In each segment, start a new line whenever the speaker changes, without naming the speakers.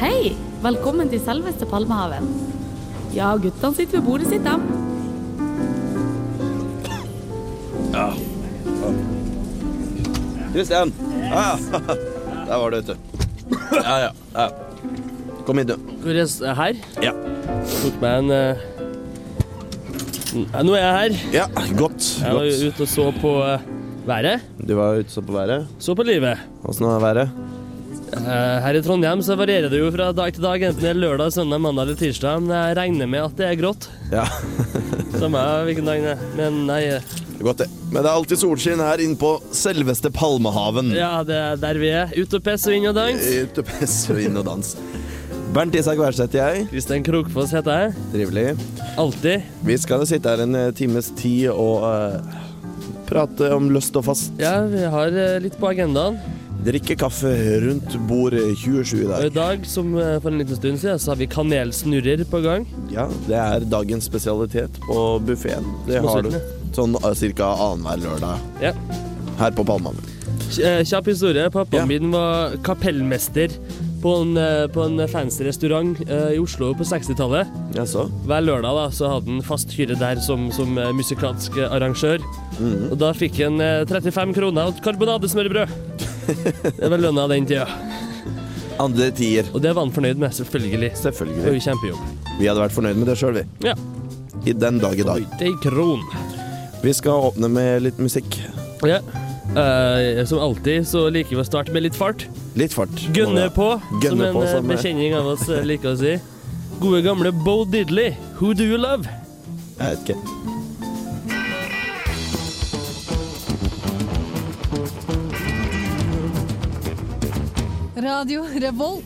Hei! Velkommen til selveste Palmehaven. Ja, guttene sitter ved bordet sitt, dem.
Kristian! Ah, ja. Der var du, vet du. Ja, ja. ja. Kom hit, du.
Hvor jeg er her?
Ja.
Tok meg en eh, ja, Nå er jeg her.
ja. Godt.
Jeg var jo ute og så på eh, været.
Du var ute så på været.
Så på livet.
Åssen er været?
Eh, her i Trondheim så varierer det jo fra dag til dag, enten det er lørdag, søndag, mandag eller tirsdag. Men jeg regner med at det er grått.
Ja,
Samme hvilken dag det er. Men nei, eh,
godt det. Men det er alltid solskinn her inne på selveste Palmehaven.
ja, det er der vi er. Ut og piss og inn og dans.
Ut og pisse og inn og dans. Bernt Isak Wærseth jeg.
Kristian Krokfoss heter jeg.
Trivelig.
Alltid.
Vi skal jo sitte her en eh, times tid og eh, prate om løst og fast.
Ja, vi har eh, litt på agendaen.
Drikke kaffe rundt bord 27 i
Og i
dag.
dag, som eh, for en liten stund siden, så har vi kanelsnurrer på gang.
Ja, det er dagens spesialitet på buffeen. Det har du sånn ca. annenhver lørdag
Ja.
her på Palmehaven.
Eh, Kjapp historie. Pappaen
Ja.
min var kapellmester på en, eh, på en fancy restaurant eh, i Oslo på 60-tallet.
Jaså?
Hver lørdag da, så hadde han fast hyre der som, som eh, musikalsk eh, arrangør. Og da fikk han eh, 35 kroner og et karbonadesmørbrød. Det var lønna den tida.
Andre tier.
Og det var han fornøyd med, selvfølgelig. Det var
Selvfølgelig.
jo kjempejobb.
Vi hadde vært fornøyd med det sjøl, vi.
Ja.
I den dag i dag.
Det er kron.
Vi skal åpne med litt musikk.
Ja. Eh, som alltid så liker vi å starte med litt fart.
Litt fart.
Gønne på, som
Gønne
en
på,
eh,
som, eh,
bekjenning av oss eh, liker å si. Gode gamle Bo Diddley, 'Who Do You Love'?
Jeg vet ikke.
Radio Revolt.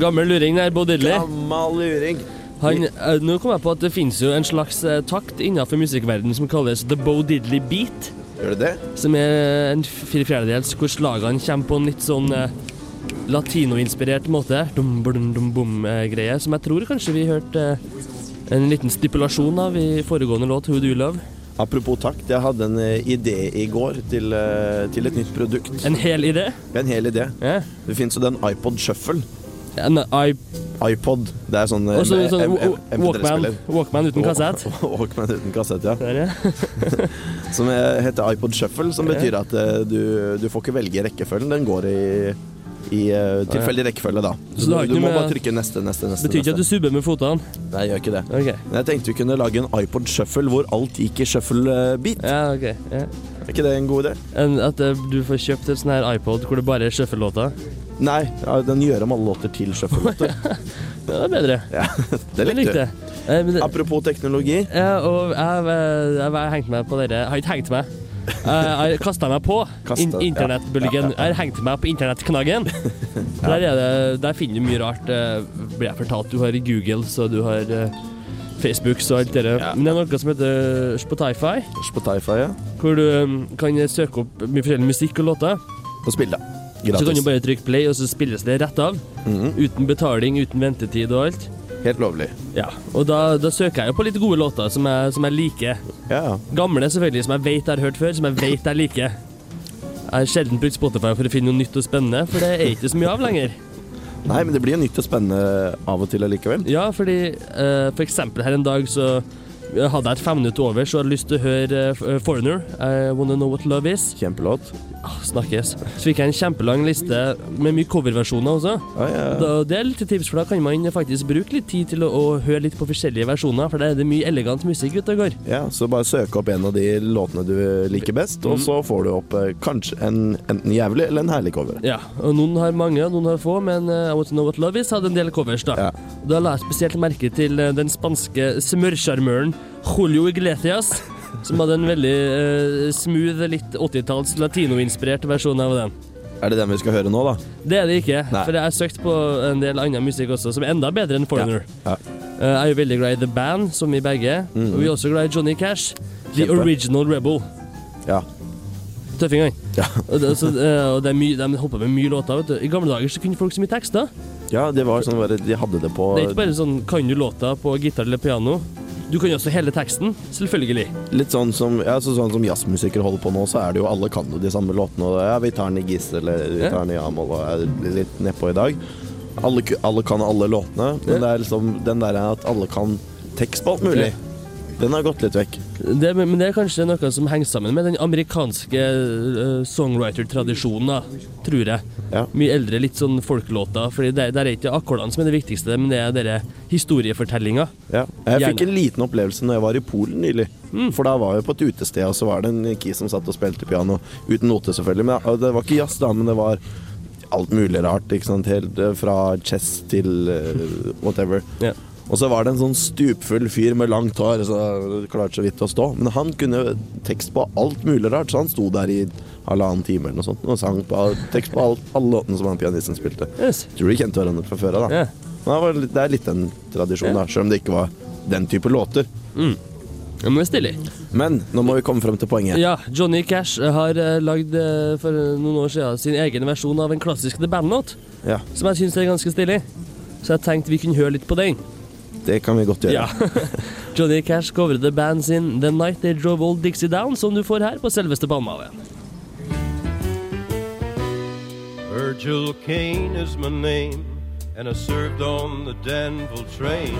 Gammel luring der, Bo Diddley.
Gammal luring.
Han, eh, nå kom jeg på at det finnes jo en slags eh, takt innenfor musikkverdenen som kalles the Bo Diddley beat,
Gjør det det?
som er en fire fjerdedels hvor slagene kommer på en litt sånn eh, latinoinspirert måte. Dum-bum-dum-bum-greie, eh, som jeg tror kanskje vi hørte eh, en liten stipulasjon av i foregående låt, 'Who Do You Love'.
Apropos takt, jeg hadde en eh, idé i går til, eh, til et nytt produkt.
En hel idé.
En hel idé.
Ja.
Det fins jo den iPod Shuffle.
En i
iPod. Det er sånn eh,
Og så
M-
sånn
M-
wa-
M-
Walkman,
MP3-spiller.
Walkman uten kassett.
Walkman uten kassett, ja.
Der, ja.
Som eh, heter iPod Shuffle, som betyr at eh, du, du får ikke velge rekkefølgen. Den går i, i eh, tilfeldig rekkefølge, da.
Så det har
du
ikke
må
med-
bare trykke neste, neste, neste.
Betyr ikke at du
neste.
subber med fotene.
Nei, jeg gjør ikke det.
Ok.
Men jeg tenkte vi kunne lage en iPod Shuffle hvor alt gikk i shuffle-bit.
Ja, ok. Ja.
Er ikke det en god idé?
Enn at eh, du får kjøpt et sånn her iPod hvor det bare er shuffle-låter.
Nei, ja, den gjør om alle låter til shuffle-låter.
Ja, det er bedre.
ja, det
Jeg
likte
likte
du.
det. Eh, men det-
Apropos teknologi.
Ja, og jeg, jeg, jeg, jeg hengte meg på dere. Jeg har ikke hengt meg. Jeg, jeg kasta meg på
Kastet,
in
ja.
internettbølgen. Jeg har hengt meg på internettknaggen. Der, er det, der finner du mye rart. eh, Blir jeg fortalt. Du har Google, så du har eh, Facebook, så alt det der.
Ja.
Men det er noe som heter Spotify.
Spotify, ja.
Hvor du um, kan søke opp mye forskjellig musikk og låter.
Og spill, da.
Så kan du
Gratis.
bare trykke play, og så spilles det rett av.
Mhm.
Uten betaling, uten ventetid og alt.
Helt lovlig.
Ja, Og da, da søker jeg jo på litt gode låter som jeg, som jeg liker.
Ja, ja.
Gamle selvfølgelig, som jeg vet jeg har hørt før, som jeg vet jeg liker. Jeg har sjelden brukt Spotify for å finne noe nytt og spennende, for det er ikke så mye av lenger.
Nei, men det blir jo nytt og spennende av og til allikevel.
Ja, fordi eh, for eksempel her en dag så hadde jeg et fem minutter over, så hadde jeg lyst til å høre eh, F- eh, Foreigner, I Wanna Know What Love Is.
Kjempelåt.
Ah, snakkes. Så fikk jeg en kjempelang liste med mye coverversjoner også.
Ja, ja, ja.
Da, det er litt tips, for da kan man faktisk bruke litt tid til å, å høre litt på forskjellige versjoner, for der er det mye elegant musikk ute og går.
Ja, så bare søk opp en av de låtene du liker best, og så får du opp eh, kanskje en enten jævlig eller en herlig cover.
Ja, og noen har mange, og noen har få, men eh, I Want to Know What Love Is hadde en del covers, da.
Ja.
Da la jeg spesielt merke til eh, den spanske smørsjarmøren Julio Iglesias, som hadde en veldig eh, smooth, litt 80-talls latinoinspirert versjon av den.
Er det den vi skal høre nå, da?
Det er det ikke,
Nei.
for jeg har søkt på en del annen musikk også, som er enda bedre enn Foreigner.
Ja.
Eh, Jeg er jo veldig glad i The Band, som vi begge er, og vi er også glad i Johnny Cash. The
Mm. Kjempe.
Original Rebel.
Ja.
Tøffingene.
Ja.
Og, det, så, eh, og det er mye- de hopper med mye låter. vet du. I gamle dager så kunne folk så mye tekster.
Ja, det var sånn bare De hadde det på
Det er ikke bare sånn kan du låta på gitar eller piano. Du kan jo også hele teksten, selvfølgelig.
Litt sånn som, ja, så sånn som jazzmusikere holder på nå, så er det jo alle kan jo de samme låtene. Og ja, vi tar den i gis, eller vi
Ja.
tar den i amol, og er litt nedpå i dag. Alle, ku- alle kan alle låtene, men
Ja.
det er liksom den der at alle kan tekst på alt mulig. Den har gått litt vekk.
Det, men det er kanskje noe som henger sammen med den amerikanske eh, songwriter-tradisjonen, da, tror jeg.
Ja.
Mye eldre, litt sånn folklåter. Fordi der, der er ikke akkordene som er det viktigste, men det er dere historiefortellinga.
Ja. Jeg fikk
Gjerne. Mm.
en liten opplevelse når jeg var i Polen nylig. For da var jeg på et utested, og så var det en kis som satt og spilte piano. Uten noter, selvfølgelig. Men og det var ikke jazz, da, men det var alt mulig rart. Ikke sant? Helt eh, fra chess til eh, whatever.
Ja.
Og så var det en sånn stupfull fyr med langt hår, så klarte så vidt å stå. Men han kunne tekst på alt mulig rart, så han sto der i halvannen time eller noe sånt og sang på alt- tekst på alt, alle låtene som han pianisten spilte.
Yes.
Tror de kjente hverandre fra før av, da.
Ja.
Men det, var litt, det er litt den tradisjonen,
Ja.
da, selv om det ikke var den type låter.
Ja, Men det er stilig.
Men nå må vi komme frem til poenget.
Ja, Johnny Cash har eh, lagd eh, for noen år siden sin egen versjon av en klassisk The Bandnot,
Ja,
som jeg syns er ganske stilig. Så jeg tenkte vi kunne høre litt på den.
det kan vi godt gjøre.
Ja. Johnny Cash covret The Band sin The Night They Drove Old Dixie Down, som du får her på selveste Palmehaven.
Virgil Kane is my name, and I served on the Danville train.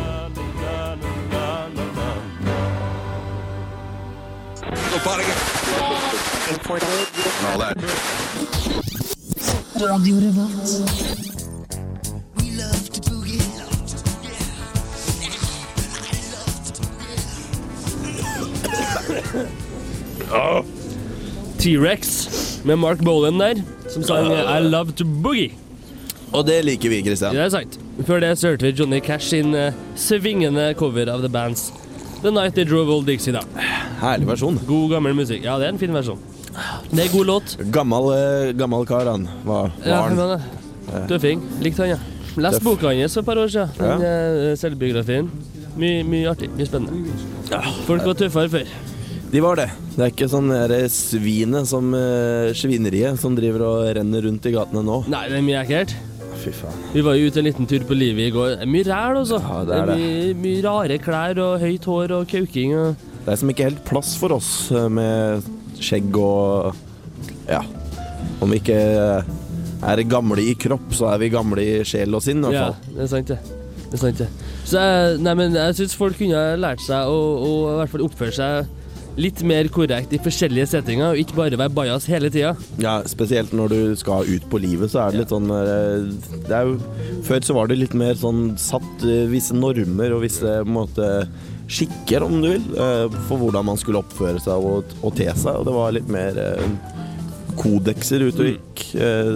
T-Rex med Mark Bolan der, som sang eh, I Love To Boogie.
Og det liker vi, Christian.
Det er sant. Før det så hørte vi Johnny Cash sin eh, svingende cover av The Bands The Night They Drove Old Dixie Down.
Herlig versjon.
God, gammel musikk. Ja, det er en fin versjon. Det er god låt.
Gammel, eh, gammel kar, han. Var, var
Ja,
han.
men, eh, Tøffing. Likte han, ja. Lest
Tøff.
boka hans for et par år siden.
Ja.
Den, eh, selvbiografien. Mye, mye artig. Mye spennende. Folk var tøffere før.
De var det. Det er ikke sånn der svinet som eh, svineriet som driver og renner rundt i gatene nå.
Nei, det er mye ekkelt.
Fy faen.
Vi var jo ute en liten tur på livet i går. Det er mye ræl, altså.
Ja, det er det.
Mye, mye rare klær og høyt hår og kauking. Og...
Det er som ikke helt plass for oss eh, med skjegg og Ja. Om vi ikke eh, er gamle i kropp, så er vi gamle i sjel og sinn, i
Ja,
hvert fall.
det er sant, det. Det er sant, det. Så jeg, nei, men jeg syns folk kunne ha lært seg å, å i hvert fall oppføre seg litt mer korrekt i forskjellige settinger, og ikke bare være bajas hele tida.
Ja, Spesielt når du skal ut på livet, så er det litt sånn eh, det er jo, Før så var det litt mer sånn satt eh, visse normer og visse på en måte, skikker, om du vil, eh, for hvordan man skulle oppføre seg og, og te seg. Og det var litt mer eh, kodekser ute og gikk. Eh,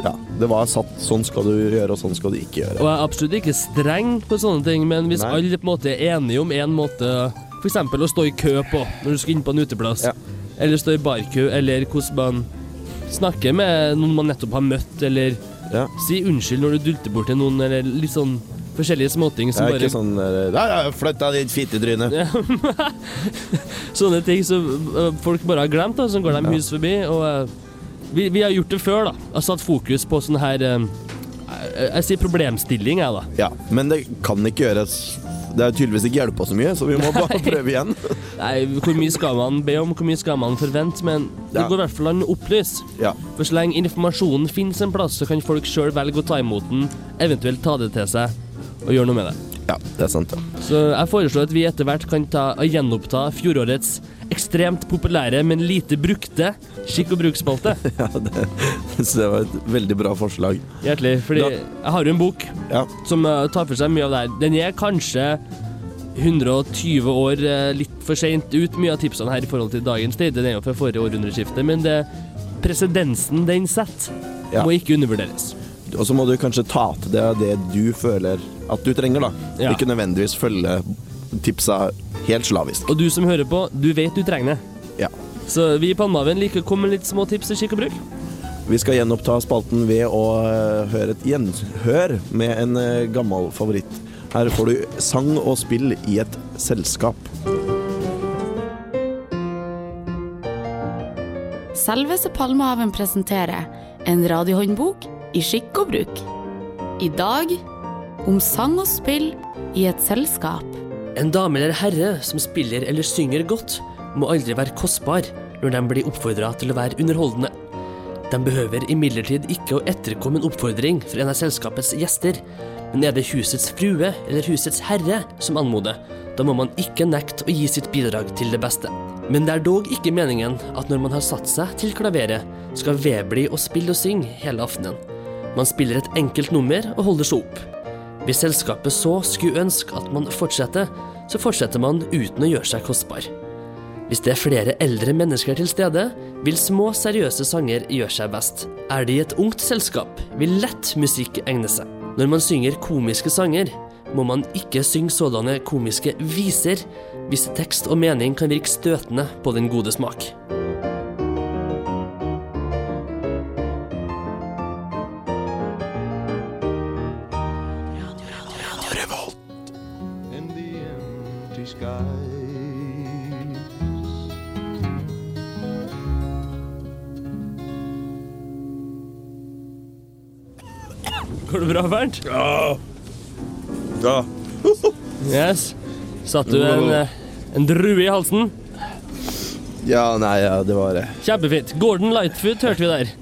Ja, det var satt sånn skal du gjøre, og sånn skal du ikke gjøre.
Og jeg er absolutt ikke streng på sånne ting, men hvis
Nei.
alle på en måte er enige om en måte F.eks. å stå i kø på når du skal inn på en uteplass,
Ja.
eller stå i barkø, eller hvordan man snakker med noen man nettopp har møtt, eller
Ja.
si unnskyld når du dulter bort til noen, eller litt sånn forskjellige småting
Det
som
er
bare
ikke sånn eh, «Nei, nei, Flytt deg, ditt fittetryne.
Sånne ting som øh, folk bare har glemt, da, som går dem hus forbi. Og øh, vi, vi har gjort det før, da. Har satt fokus på sånn her øh, jeg, jeg sier problemstilling, jeg, da.
Ja, men det kan ikke gjøres Det er tydeligvis ikke hjelpa så mye, så vi må bare prøve igjen.
Nei, hvor mye skal man be om, hvor mye skal man forvente, men det
Ja.
går i hvert fall an å opplyse.
Ja.
For så lenge informasjonen finnes en plass, så kan folk sjøl velge å ta imot den, eventuelt ta det til seg og gjøre noe med det.
ja, det er sant. Ja.
Så jeg foreslår at vi etter hvert kan ta og gjenoppta fjorårets ekstremt populære, men lite brukte skikk og bruk-spalte.
Ja, det, så det var et veldig bra forslag.
Hjertelig. Fordi
Da-
jeg har jo en bok
Ja,
som eh, tar for seg mye av det her. Den er kanskje 120 år eh, litt for seint ut, mye av tipsene her i forhold til dagens tid. Den er jo fra forrige århundreskifte, men det, presedensen den setter,
Ja.
må ikke undervurderes.
Og så må du kanskje ta til deg det du føler at du trenger, da.
Ja.
Ikke nødvendigvis følge tipsa helt slavisk.
Og du som hører på, du vet du trenger det.
Ja.
Så vi i Palmehaven liker å komme med litt små tips til skikk og bruk.
Vi skal gjenoppta spalten ved å eh, høre et gjenhør med en eh, gammel favoritt. Her får du sang og spill i et selskap.
Selveste Palmehaven presenterer en radiohåndbok i skikk og bruk. I dag om sang og spill i et selskap.
En dame eller herre som spiller eller synger godt, må aldri være kostbar når de blir oppfordra til å være underholdende. De behøver imidlertid ikke å etterkomme en oppfordring fra en av selskapets gjester, men er det husets frue eller husets herre som anmoder, da må man ikke nekte å gi sitt bidrag til det beste. Men det er dog ikke meningen at når man har satt seg til klaveret, skal vedbli å spille og synge hele aftenen. Man spiller et enkelt nummer og holder seg opp. Hvis selskapet så skulle ønske at man fortsetter, så fortsetter man uten å gjøre seg kostbar. Hvis det er flere eldre mennesker til stede, vil små, seriøse sanger gjøre seg best. Er det i et ungt selskap, vil lett musikk egne seg. Når man synger komiske sanger, må man ikke synge sådanne komiske viser, hvis tekst og mening kan virke støtende på den gode smak.
in the empty sky.
Går det bra, Bernt?
Ja.
Yes. Satt du en, eh, en drue i halsen?
Ja, nei, ja, det var det.
Kjempefint. Gordon Lightfoot hørte vi der.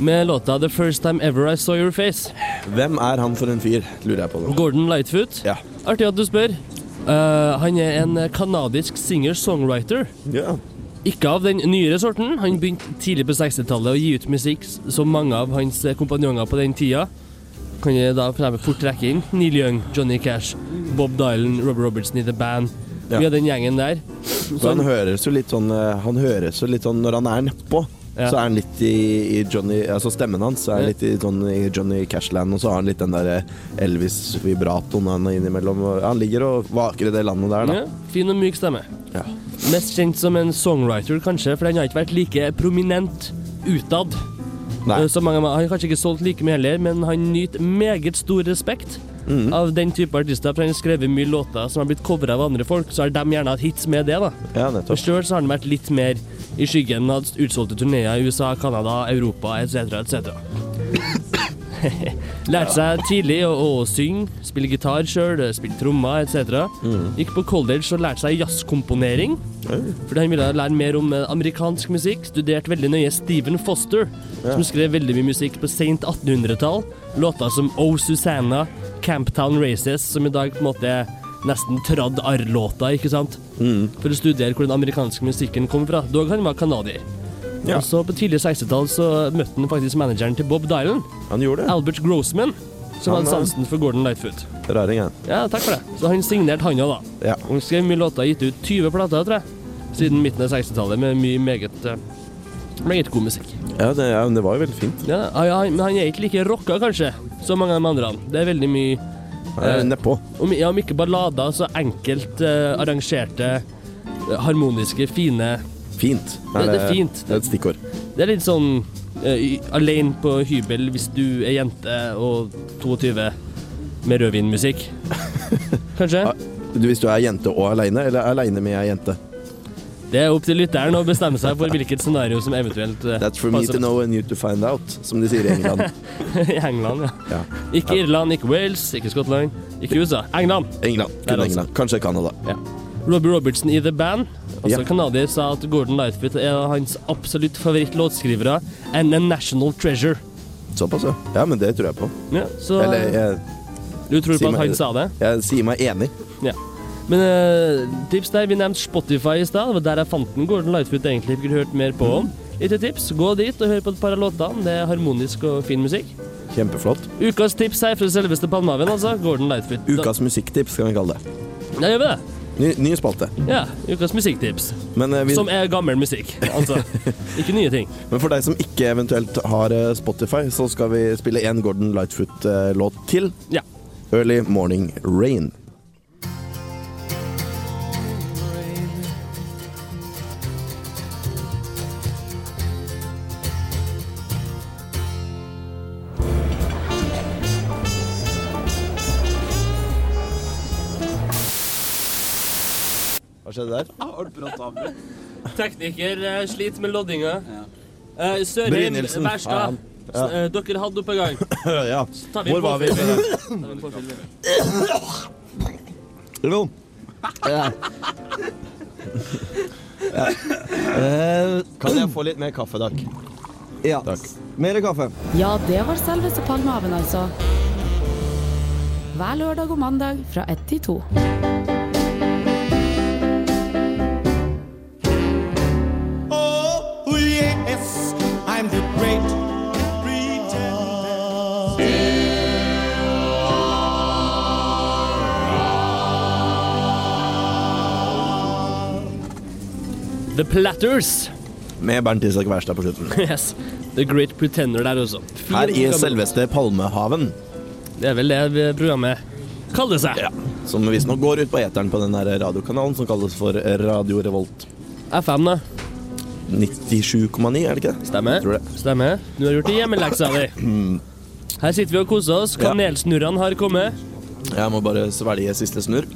Med låta 'The First Time Ever I Saw Your Face'.
Hvem er han for en fyr, lurer jeg på nå.
Gordon Lightfoot.
Ja.
Artig at du spør. Eh, han er en kanadisk singer-songwriter.
ja.
Ikke av den nyere sorten. Han begynte tidlig på 60-tallet å gi ut musikk s- som mange av hans kompanjonger på den tida. Kan jeg da for eksempel fort trekke inn Neil Young, Johnny Cash, Bob Dylan, Robert Robertson i The Band.
Ja.
Vi har den gjengen der.
Så han høres jo litt sånn eh, Han høres jo litt sånn Når han er nedpå,
Ja.
så er han litt i, i Johnny Altså stemmen hans er
Ja.
litt i, sånn, i Johnny Cashland, og så har han litt den der eh, Elvis-vibratoen han er innimellom. og Han ligger og vaker i det landet der,
Ja, fin og myk stemme.
da. Ja.
Mest kjent som en songwriter, kanskje, for den har ikke vært like prominent utad.
Nei.
eh, Som mange, av- han har kanskje ikke solgt like mye heller, men han nyter meget stor respekt av den type artister. For han har skrevet mye låter som har blitt covra av andre folk, så har de gjerne hatt hits med det. da.
ja,
For
nettopp.
sjøl har han vært litt mer i skyggen og hatt utsolgte turneer i USA, Canada, Europa etc. etc. Lærte seg tidlig å, å synge, spille gitar sjøl, spille trommer etc. Gikk på college og lærte seg jazzkomponering. Fordi han ville lære mer om eh, amerikansk musikk. Studerte veldig nøye Stephen Foster, som skrev veldig mye musikk på sent 1800-tall. Låter som Oh Susanna, Camptown Races, som i dag på en måte er nesten tradd arr-låter, ikke sant?
Mm.
For å studere hvor den amerikanske musikken kom fra. Dog han var canadier.
Ja.
Og så på tidlig 60-tall så møtte han faktisk manageren til Bob Dylan,
Han gjorde det.
Albert Grossman, som
Han
hadde
er-
sansen for Gordon Lightfoot.
Raring, han.
Ja, takk for det. Så han signerte han òg, da.
Ja.
Hun skrev mye låter, gitt ut 20 plater, tror jeg, siden midten av 60-tallet, med mye meget, eh, meget god musikk.
Ja, det, ja, men det var jo veldig fint.
Ja, ja, ja, men han er ikke like rocka, kanskje, som mange av de andre. Det er veldig mye,
Eh, Nedpå.
om, ja, om ikke ballader, så enkelt eh, arrangerte, eh, harmoniske, fine
Fint. Eh,
Det- det er fint.
Det er et stikkord.
Det er litt sånn eh, i- alene på hybel hvis du er jente og 22 med rødvinmusikk. Kanskje?
Ah, Du, Hvis du er jente og aleine, eller aleine med ei jente.
Det er opp til lytteren å bestemme seg for hvilket scenario som eventuelt eh,
That's for me
passer
to know and you to find out, som de sier i England.
I England, ja.
Ja.
Ikke Irland, ikke Wales, ikke Skottland, ikke USA. England!
England.
Der
Kun
også.
England. Kanskje Canada.
Ja. Robbie Robertson i The Band, også
Ja.
kanadier, sa at Gordon Lightfoot er hans absolutt favorittlåtskrivere and a national treasure.
Såpass, ja. Ja, men det tror jeg på.
Ja, så
Eller jeg,
du tror
si
på at
meg-
han sa det?
jeg sier meg enig.
Ja. Men eh, tips der, vi nevnte Spotify i stad, det var der jeg fant den. Gordon Lightfoot egentlig ikke hørt mer på om. Ikke tips, gå dit og hør på et par av låtene. Det er harmonisk og fin musikk.
Kjempeflott.
Ukas tips her fra selveste Palmaven, altså. Gordon Lightfoot.
Ukas musikktips, kan vi kalle det.
Ja, gjør vi det?
Ny, ny spalte.
Ja. Ukas musikktips.
Men, eh, vi,
Som er gammel musikk, altså. Ikke nye ting.
men for deg som ikke eventuelt har eh, Spotify, så skal vi spille en Gordon Lightfoot-låt til.
Ja.
Early Morning Rain. Hva skjedde der?
Tekniker eh, sliter med loddinga. Eh, Sørheim
Brynildsen.
Wærstad.
faen. Ja.
Eh, dere hadde opp en gang.
ja.
Så tar vi
Hvor
en
var vi?
påfyll. Tar vi en påfyll, ja.
Jo. Ja.
Eh,
Kan jeg få litt mer kaffe, takk?
ja.
Takk.
Mer kaffe.
Ja, det var selveste Palmehaven, altså. Hver lørdag og mandag fra 1 til 2.
Oh, yes, I'm the great pretender.
The Platters.
Med Bernt Isak Wærstad på slutten.
Yes. The Great Pretender der også. Fin
Her i
gammel-
selveste Palmehaven,
Det er vel det vi- programmet kaller seg.
som visstnok går ut på eteren på den der radiokanalen som kalles for Radio Revolt
FM, da.
97,9, er det ikke det?
Stemmer.
Jeg tror det. Mm.
Stemmer. Du har gjort det hjemmeleksa di. Her sitter vi og koser oss.
Ja.
Kanelsnurrene har kommet.
Jeg må bare svelge siste snurr.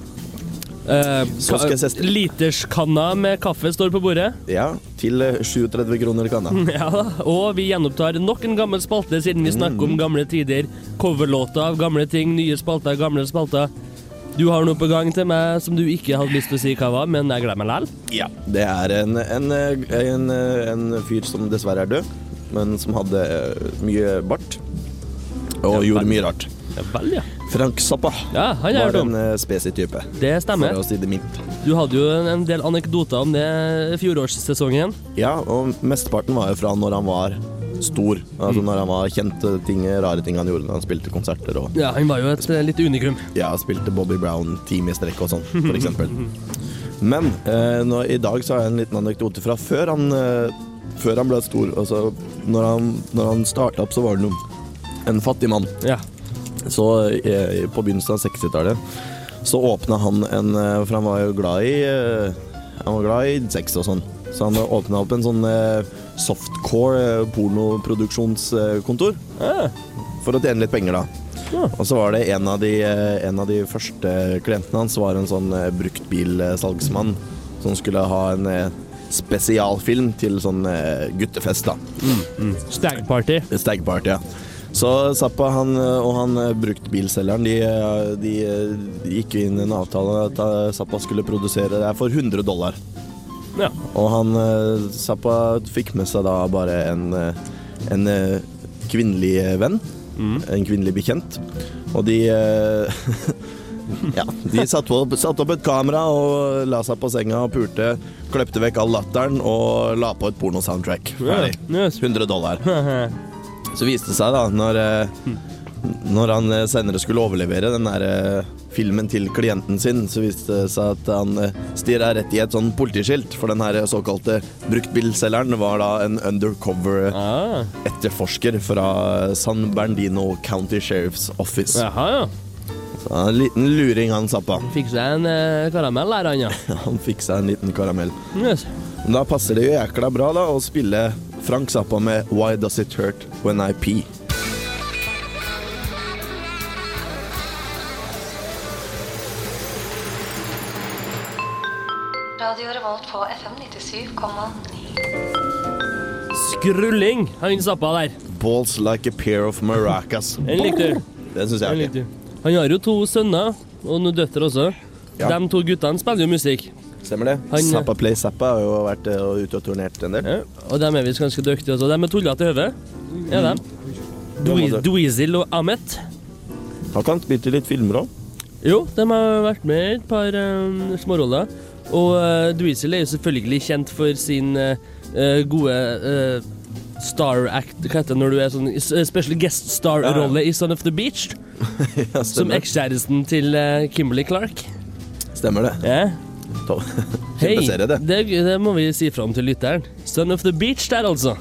Eh,
Så skal jeg
ka-
siste.
Literskanna med kaffe står på bordet.
Ja, til eh, 37 kroner kan jeg.
Ja, og vi gjenopptar nok en gammel spalte siden vi snakker om gamle tider. Coverlåter av gamle ting, nye spalter, gamle spalter. Du har noe på gang til meg som du ikke hadde lyst til å si hva var, men jeg glemmer likevel.
Ja. Det er en, en, eh, en, eh, en fyr som dessverre er død, men som hadde eh, mye bart. Og gjorde mye rart.
Ja vel, ja.
Frank Zappa
Ja, han er
var en
dum.
eh, spesi type,
Det
for
stemmer.
å si det mildt.
Du hadde jo en- en del anekdoter om det fjorårssesongen.
Ja, og mesteparten var jo fra når han var stor. Altså når han var kjente ting, rare ting han gjorde når han spilte konserter og
Ja, han var jo et eh, lite unikum.
ja, spilte Bobby Brown time i strekk og sånn, for eksempel. Men eh, nå, i dag så har jeg en liten anekdote fra før han, eh, før han ble stor. Altså, når han, når han starta opp, så var han jo en fattig mann.
Ja.
Så eh, på begynnelsen av 60-tallet så åpna han en eh, For han var jo glad i eh, Han var glad i sex og sånn. Så han åpna opp en sånn eh, softcore eh, pornoproduksjonskontor. For å tjene litt penger, da. Og så var det en av de, eh, en av de første klientene hans var en sånn eh, bruktbilsalgsmann som skulle ha en eh, spesialfilm til sånn eh, guttefest, da.
Stag party.
Stag Party, ja. Så Zappa han, eh, og han bruktbilselgeren de, eh, de, gikk jo inn i en avtale at eh, Zappa skulle produsere det her for 100 dollar.
Ja.
Og han eh, Zappa fikk med seg da bare en, eh, en eh, kvinnelig venn. En kvinnelig bekjent. Og de eh, Ja, de satte opp, satte opp et kamera og la seg på senga og pulte. Klepte vekk all latteren og la på et pornosoundtrack. Ferdig.
Yes.
100 dollar. Så viste det seg da, når, eh, når han eh, senere skulle overlevere den der eh, filmen til klienten sin, så viste det seg at han stirra rett i et sånn politiskilt, for den her eh, såkalte bruktbilselgeren var da en undercover eh,
Ah,
etterforsker fra eh, San Bernardino County Sheriff's Office.
jaha, ja.
Så han er en liten luring han zappa.
Fikk seg en eh, karamell der, han, ja.
Han fikk seg en liten karamell.
Yes.
Men Da passer det jo jækla bra da å spille Frank Zappa med Why Does It Hurt When I Pee.
Radio Revolt på FM 97,9.
Skrulling, han zappa der.
Balls like a pair of maracas.
Den likte du.
Det syns jeg
Den
er
likte
artig.
du. Han har jo to sønner, og noen døtre også.
Ja.
De to guttene spiller jo musikk.
Stemmer det?
Han-
Zappa Play Zappa har jo vært eh, og ute og turnert en del.
Ja, og de er visst ganske dyktige også. De er tullete i hodet. Er de? Dwe-
Det må du-
Dweezil og Amet.
Han kan spille litt filmer òg.
Jo, de har vært med i et par eh, småroller. Og uh, Dweezil er jo selvfølgelig kjent for sin eh, eh, gode eh, star act Hva heter det når du er sånn s- special guest star-rolle i Son of the Beach?
Ja,
Som
stemmer.
ekskjæresten til eh, Kimberly Clark.
stemmer det.
Ja.
To-
Hei,
Kjempeserie, det.
det, det må vi si fram til lytteren. Son of the Beach der, altså.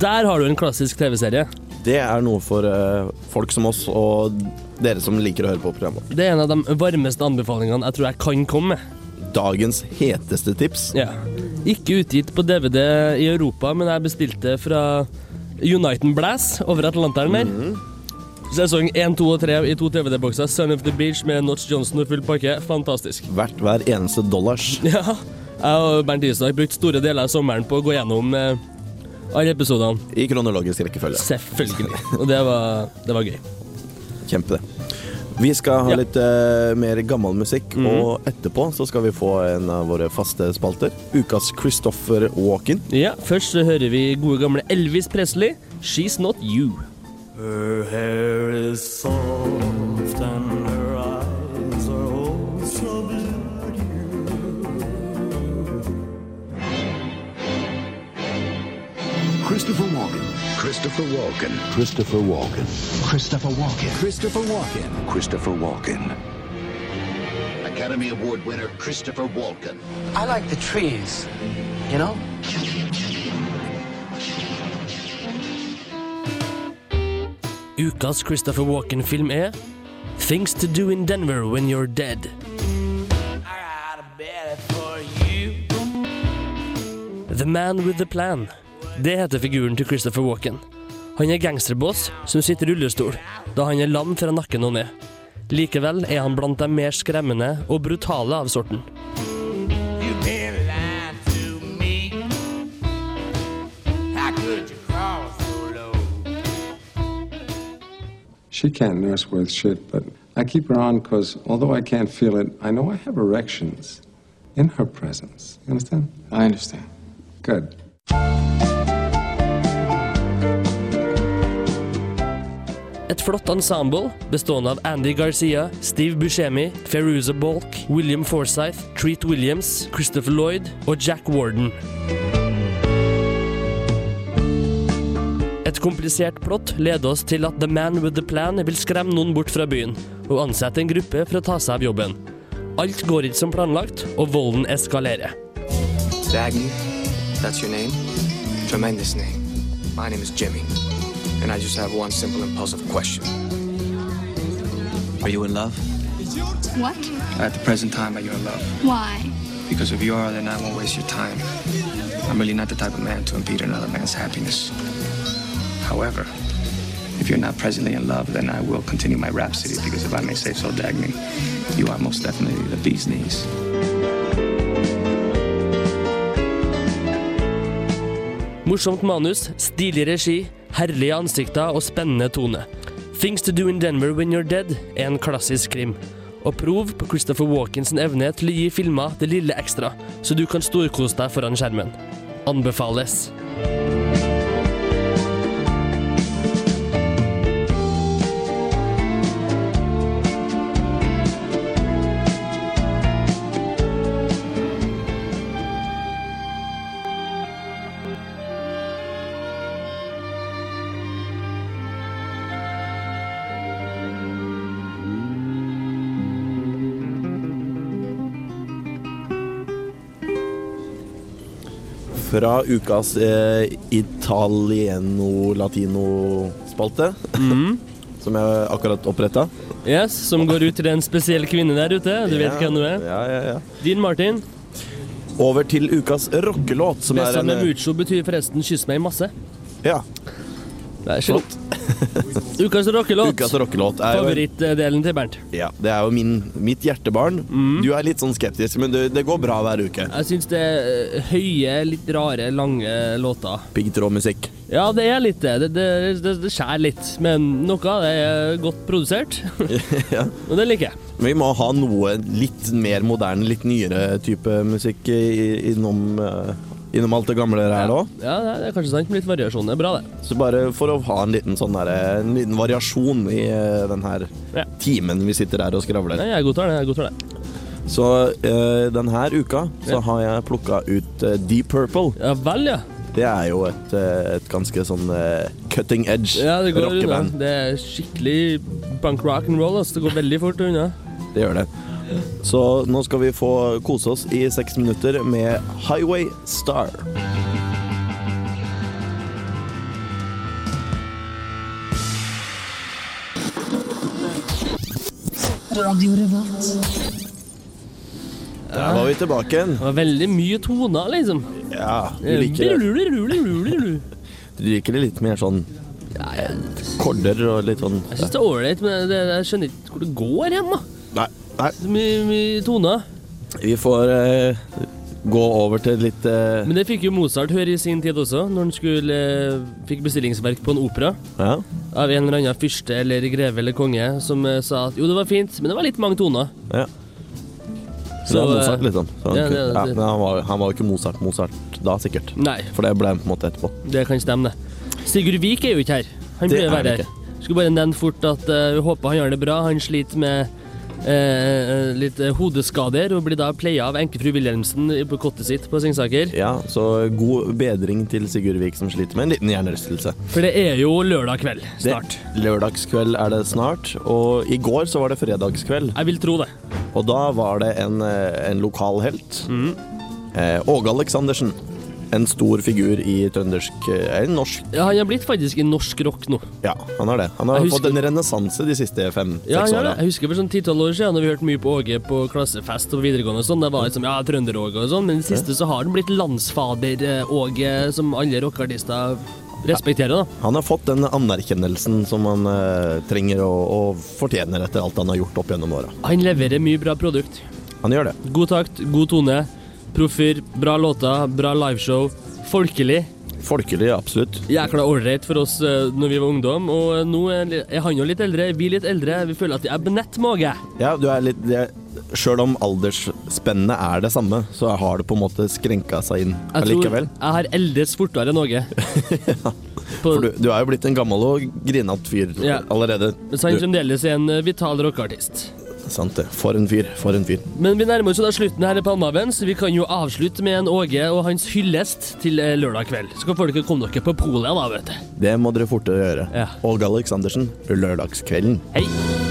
Der har du en klassisk TV-serie.
Det er noe for eh, folk som oss og dere som liker å høre på programmet.
Det er en av de varmeste anbefalingene jeg tror jeg kan komme med.
Dagens heteste tips.
Ja. Ikke utgitt på DVD i Europa, men jeg bestilte fra Uniten Blass over Atlanteren der.
Mhm.
Sesong 1, 2 og 3 i to DVD-bokser. Son of the Beach med Notch Johnson og full pakke. Fantastisk.
Verdt hver eneste dollars.
Ja. Jeg og Bernt Isak brukte store deler av sommeren på å gå gjennom eh,
Alle episodene.
I kronologisk rekkefølge.
Selvfølgelig. Og det var, det var gøy.
Kjempe det. Vi skal ha
Ja.
litt eh, mer gammel musikk,
Mhm.
og etterpå så skal vi få en av våre faste spalter. Ukas Christopher Walken.
Ja, Først så hører vi gode gamle Elvis Presley, 'She's Not You'.
Her hair is soft and her eyes are oh so blue.
Christopher Walken. Christopher Walken. Christopher Walken. Christopher Walken. Christopher Walken. Christopher Walken. Academy Award winner Christopher Walken.
I like the trees, you know?
Ukas Christopher Walken-film er Things to do in Denver when you're dead. The Man with the Plan. Det heter figuren til Christopher Walken. Han er gangsterboss som sitter i rullestol, da han er lam fra nakken og ned. Likevel er han blant de mer skremmende og brutale av sorten.
She can't nurse worth shit, but I keep her on because although I can't feel it, I know I have erections in her presence. You understand? I understand. Good.
Et flott ensemble bestående av Andy Garcia, Steve Buscemi, Feruza Balk, William Forsythe, Treat Williams, Christopher Lloyd og Jack Warden. Et komplisert plott leder oss til at The Man With The Plan vil skremme noen bort fra byen og ansette en gruppe for å ta seg av jobben. Alt går ikke som planlagt, og volden eskalerer.
Dagny, that's your name? Tremendous name. My name is Jimmy, and I just have one simple impulsive question. Are you in love?
What?
At the present time, are you in love?
Why?
Because if you are, then I won't waste your time. I'm really not the type of man to impede another man's happiness. However, if you're not presently in love, then I will continue my rhapsody because if I may say so, Dagny, you are most definitely the bee's knees.
Morsomt manus, stilig regi, herlige ansikter og spennende tone. Things to do in Denver when you're dead er en klassisk krim. Og prov på Christopher Walkens evne til å gi filmer det lille ekstra, så du kan storkose deg foran skjermen. Anbefales.
Fra ukas eh, italieno-latino-spalte,
Mhm.
som jeg akkurat oppretta.
Yes, Som går ut til en spesiell kvinne der ute. Du vet hvem du er.
Ja, ja, ja.
Dean Martin.
Over til ukas rockelåt, som er
Besa
en eh,
med mucho betyr forresten 'kyss meg masse'.
ja,
Det er slott. Ukas rockelåt.
Ukas rockelåt er jo en-
Favorittdelen til Bernt.
ja, Det er jo min, mitt hjertebarn.
Mhm.
Du er litt sånn skeptisk, men du, det går bra hver uke.
Jeg syns det er eh, høye, litt rare, lange låter.
Piggtrådmusikk.
Ja, det er litt det. Det, det, det, det skjærer litt. Men noe av det er godt produsert,
ja.
Og det liker jeg.
Men Vi må ha noe litt mer moderne, litt nyere type musikk i- innom, eh, innom alt det gamle her nå.
Ja, det er kanskje sant med litt variasjon. Det er bra, det.
Så bare for å ha en liten, sånn der, en liten variasjon i eh, den her
Ja.
timen vi sitter her og skravler.
Jeg godtar det. jeg godtar det.
Så eh, denne uka så har jeg plukka ut eh, Deep Purple.
Ja vel, ja.
Det er jo et, eh, et ganske sånn eh, cutting edge
Ja, det går unna.
rockeband.
Det er skikkelig punk rock and roll. Altså. Det går veldig fort unna.
Det gjør det. Så nå skal vi få kose oss i seks minutter med Highway Star. Der var vi tilbake igjen.
Det var veldig mye toner, liksom.
Ja, du liker det.
Brululululululu.
Du liker det litt mer sånn eh, Korder og litt sånn
Jeg syns det er ålreit, men det, jeg skjønner ikke hvor det går hen, da.
Nei, nei.
Så mye, mye toner.
Vi får eh, gå over til litt eh,
Men det fikk jo Mozart høre i sin tid også, når han skulle, eh, fikk bestillingsverk på en opera.
Ja.
Av en eller annen fyrste eller greve eller konge som eh, sa at jo, det var fint, men det var litt mange toner.
ja. Så, det
Så,
er
eh,
Mozart, liksom. Så han,
ja,
kunne-
det-
ja,
det-
men han, var, han var jo ikke Mozart Mozart da, sikkert.
Nei.
For det ble han på en måte etterpå.
Det kan stemme, det. Sigurd Vik er jo ikke her. Han
Det
burde
er han
være her. Skulle bare nevne fort at eh, vi håper han gjør det bra. Han sliter med eh, litt eh, hodeskader og blir da pleia av enkefru Wilhelmsen på kottet sitt på Singsaker.
Ja, så god bedring til Sigurd Vik som sliter med en liten hjernerystelse.
For det er jo lørdag kveld
Det-
snart.
Lørdagskveld er det snart, og i går så var det fredagskveld.
Jeg vil tro det.
Og da var det en, eh, en lokal helt. Eh, Åge Aleksandersen. En stor figur i trøndersk eh, Eller norsk
Ja, han har blitt faktisk i norsk rock nå.
Ja, han har det. Han har
Jeg husker-
fått en renessanse de siste fem-seks
Ja, ja,
åra.
jeg husker for sånn 10-12 år siden Når vi hørte mye på Åge på klassefest og på videregående og sånn. Det var liksom, ja, Trønder-Åge og sånn, men i det siste så har han blitt landsfader-Åge, som alle rockeartister respekterer, da.
Han har fått den anerkjennelsen som han eh, trenger og, og fortjener etter alt han har gjort opp gjennom åra.
Han leverer mye bra produkt.
Han gjør det.
God takt, god tone, proffer, bra låter, bra liveshow. Folkelig.
Folkelig, absolutt.
Jækla ålreit for oss eh, når vi var ungdom, og eh, nå er li- er han jo litt eldre, vi litt eldre. Vi føler at jeg er benett mage.
Ja, du er litt det, Sjøl om aldersspennet er det samme, så har det på en måte skrenka seg inn
Jeg tror
allikevel.
jeg har eldes fortere enn Åge. På-
For du, du er jo blitt en gammel og grinete fyr
Ja.
allerede.
Så han
Du,
fremdeles er en eh, vital rockeartist.
sant det. For en fyr. For en fyr.
Men vi nærmer oss jo da slutten her i Palmehaven, så vi kan jo avslutte med en Åge og hans hyllest til eh, lørdag kveld. Så kan folk komme dere på polet da, vet du.
Det må dere fortere gjøre.
Ja.
Åge Aleksandersen, lørdagskvelden.
Hei!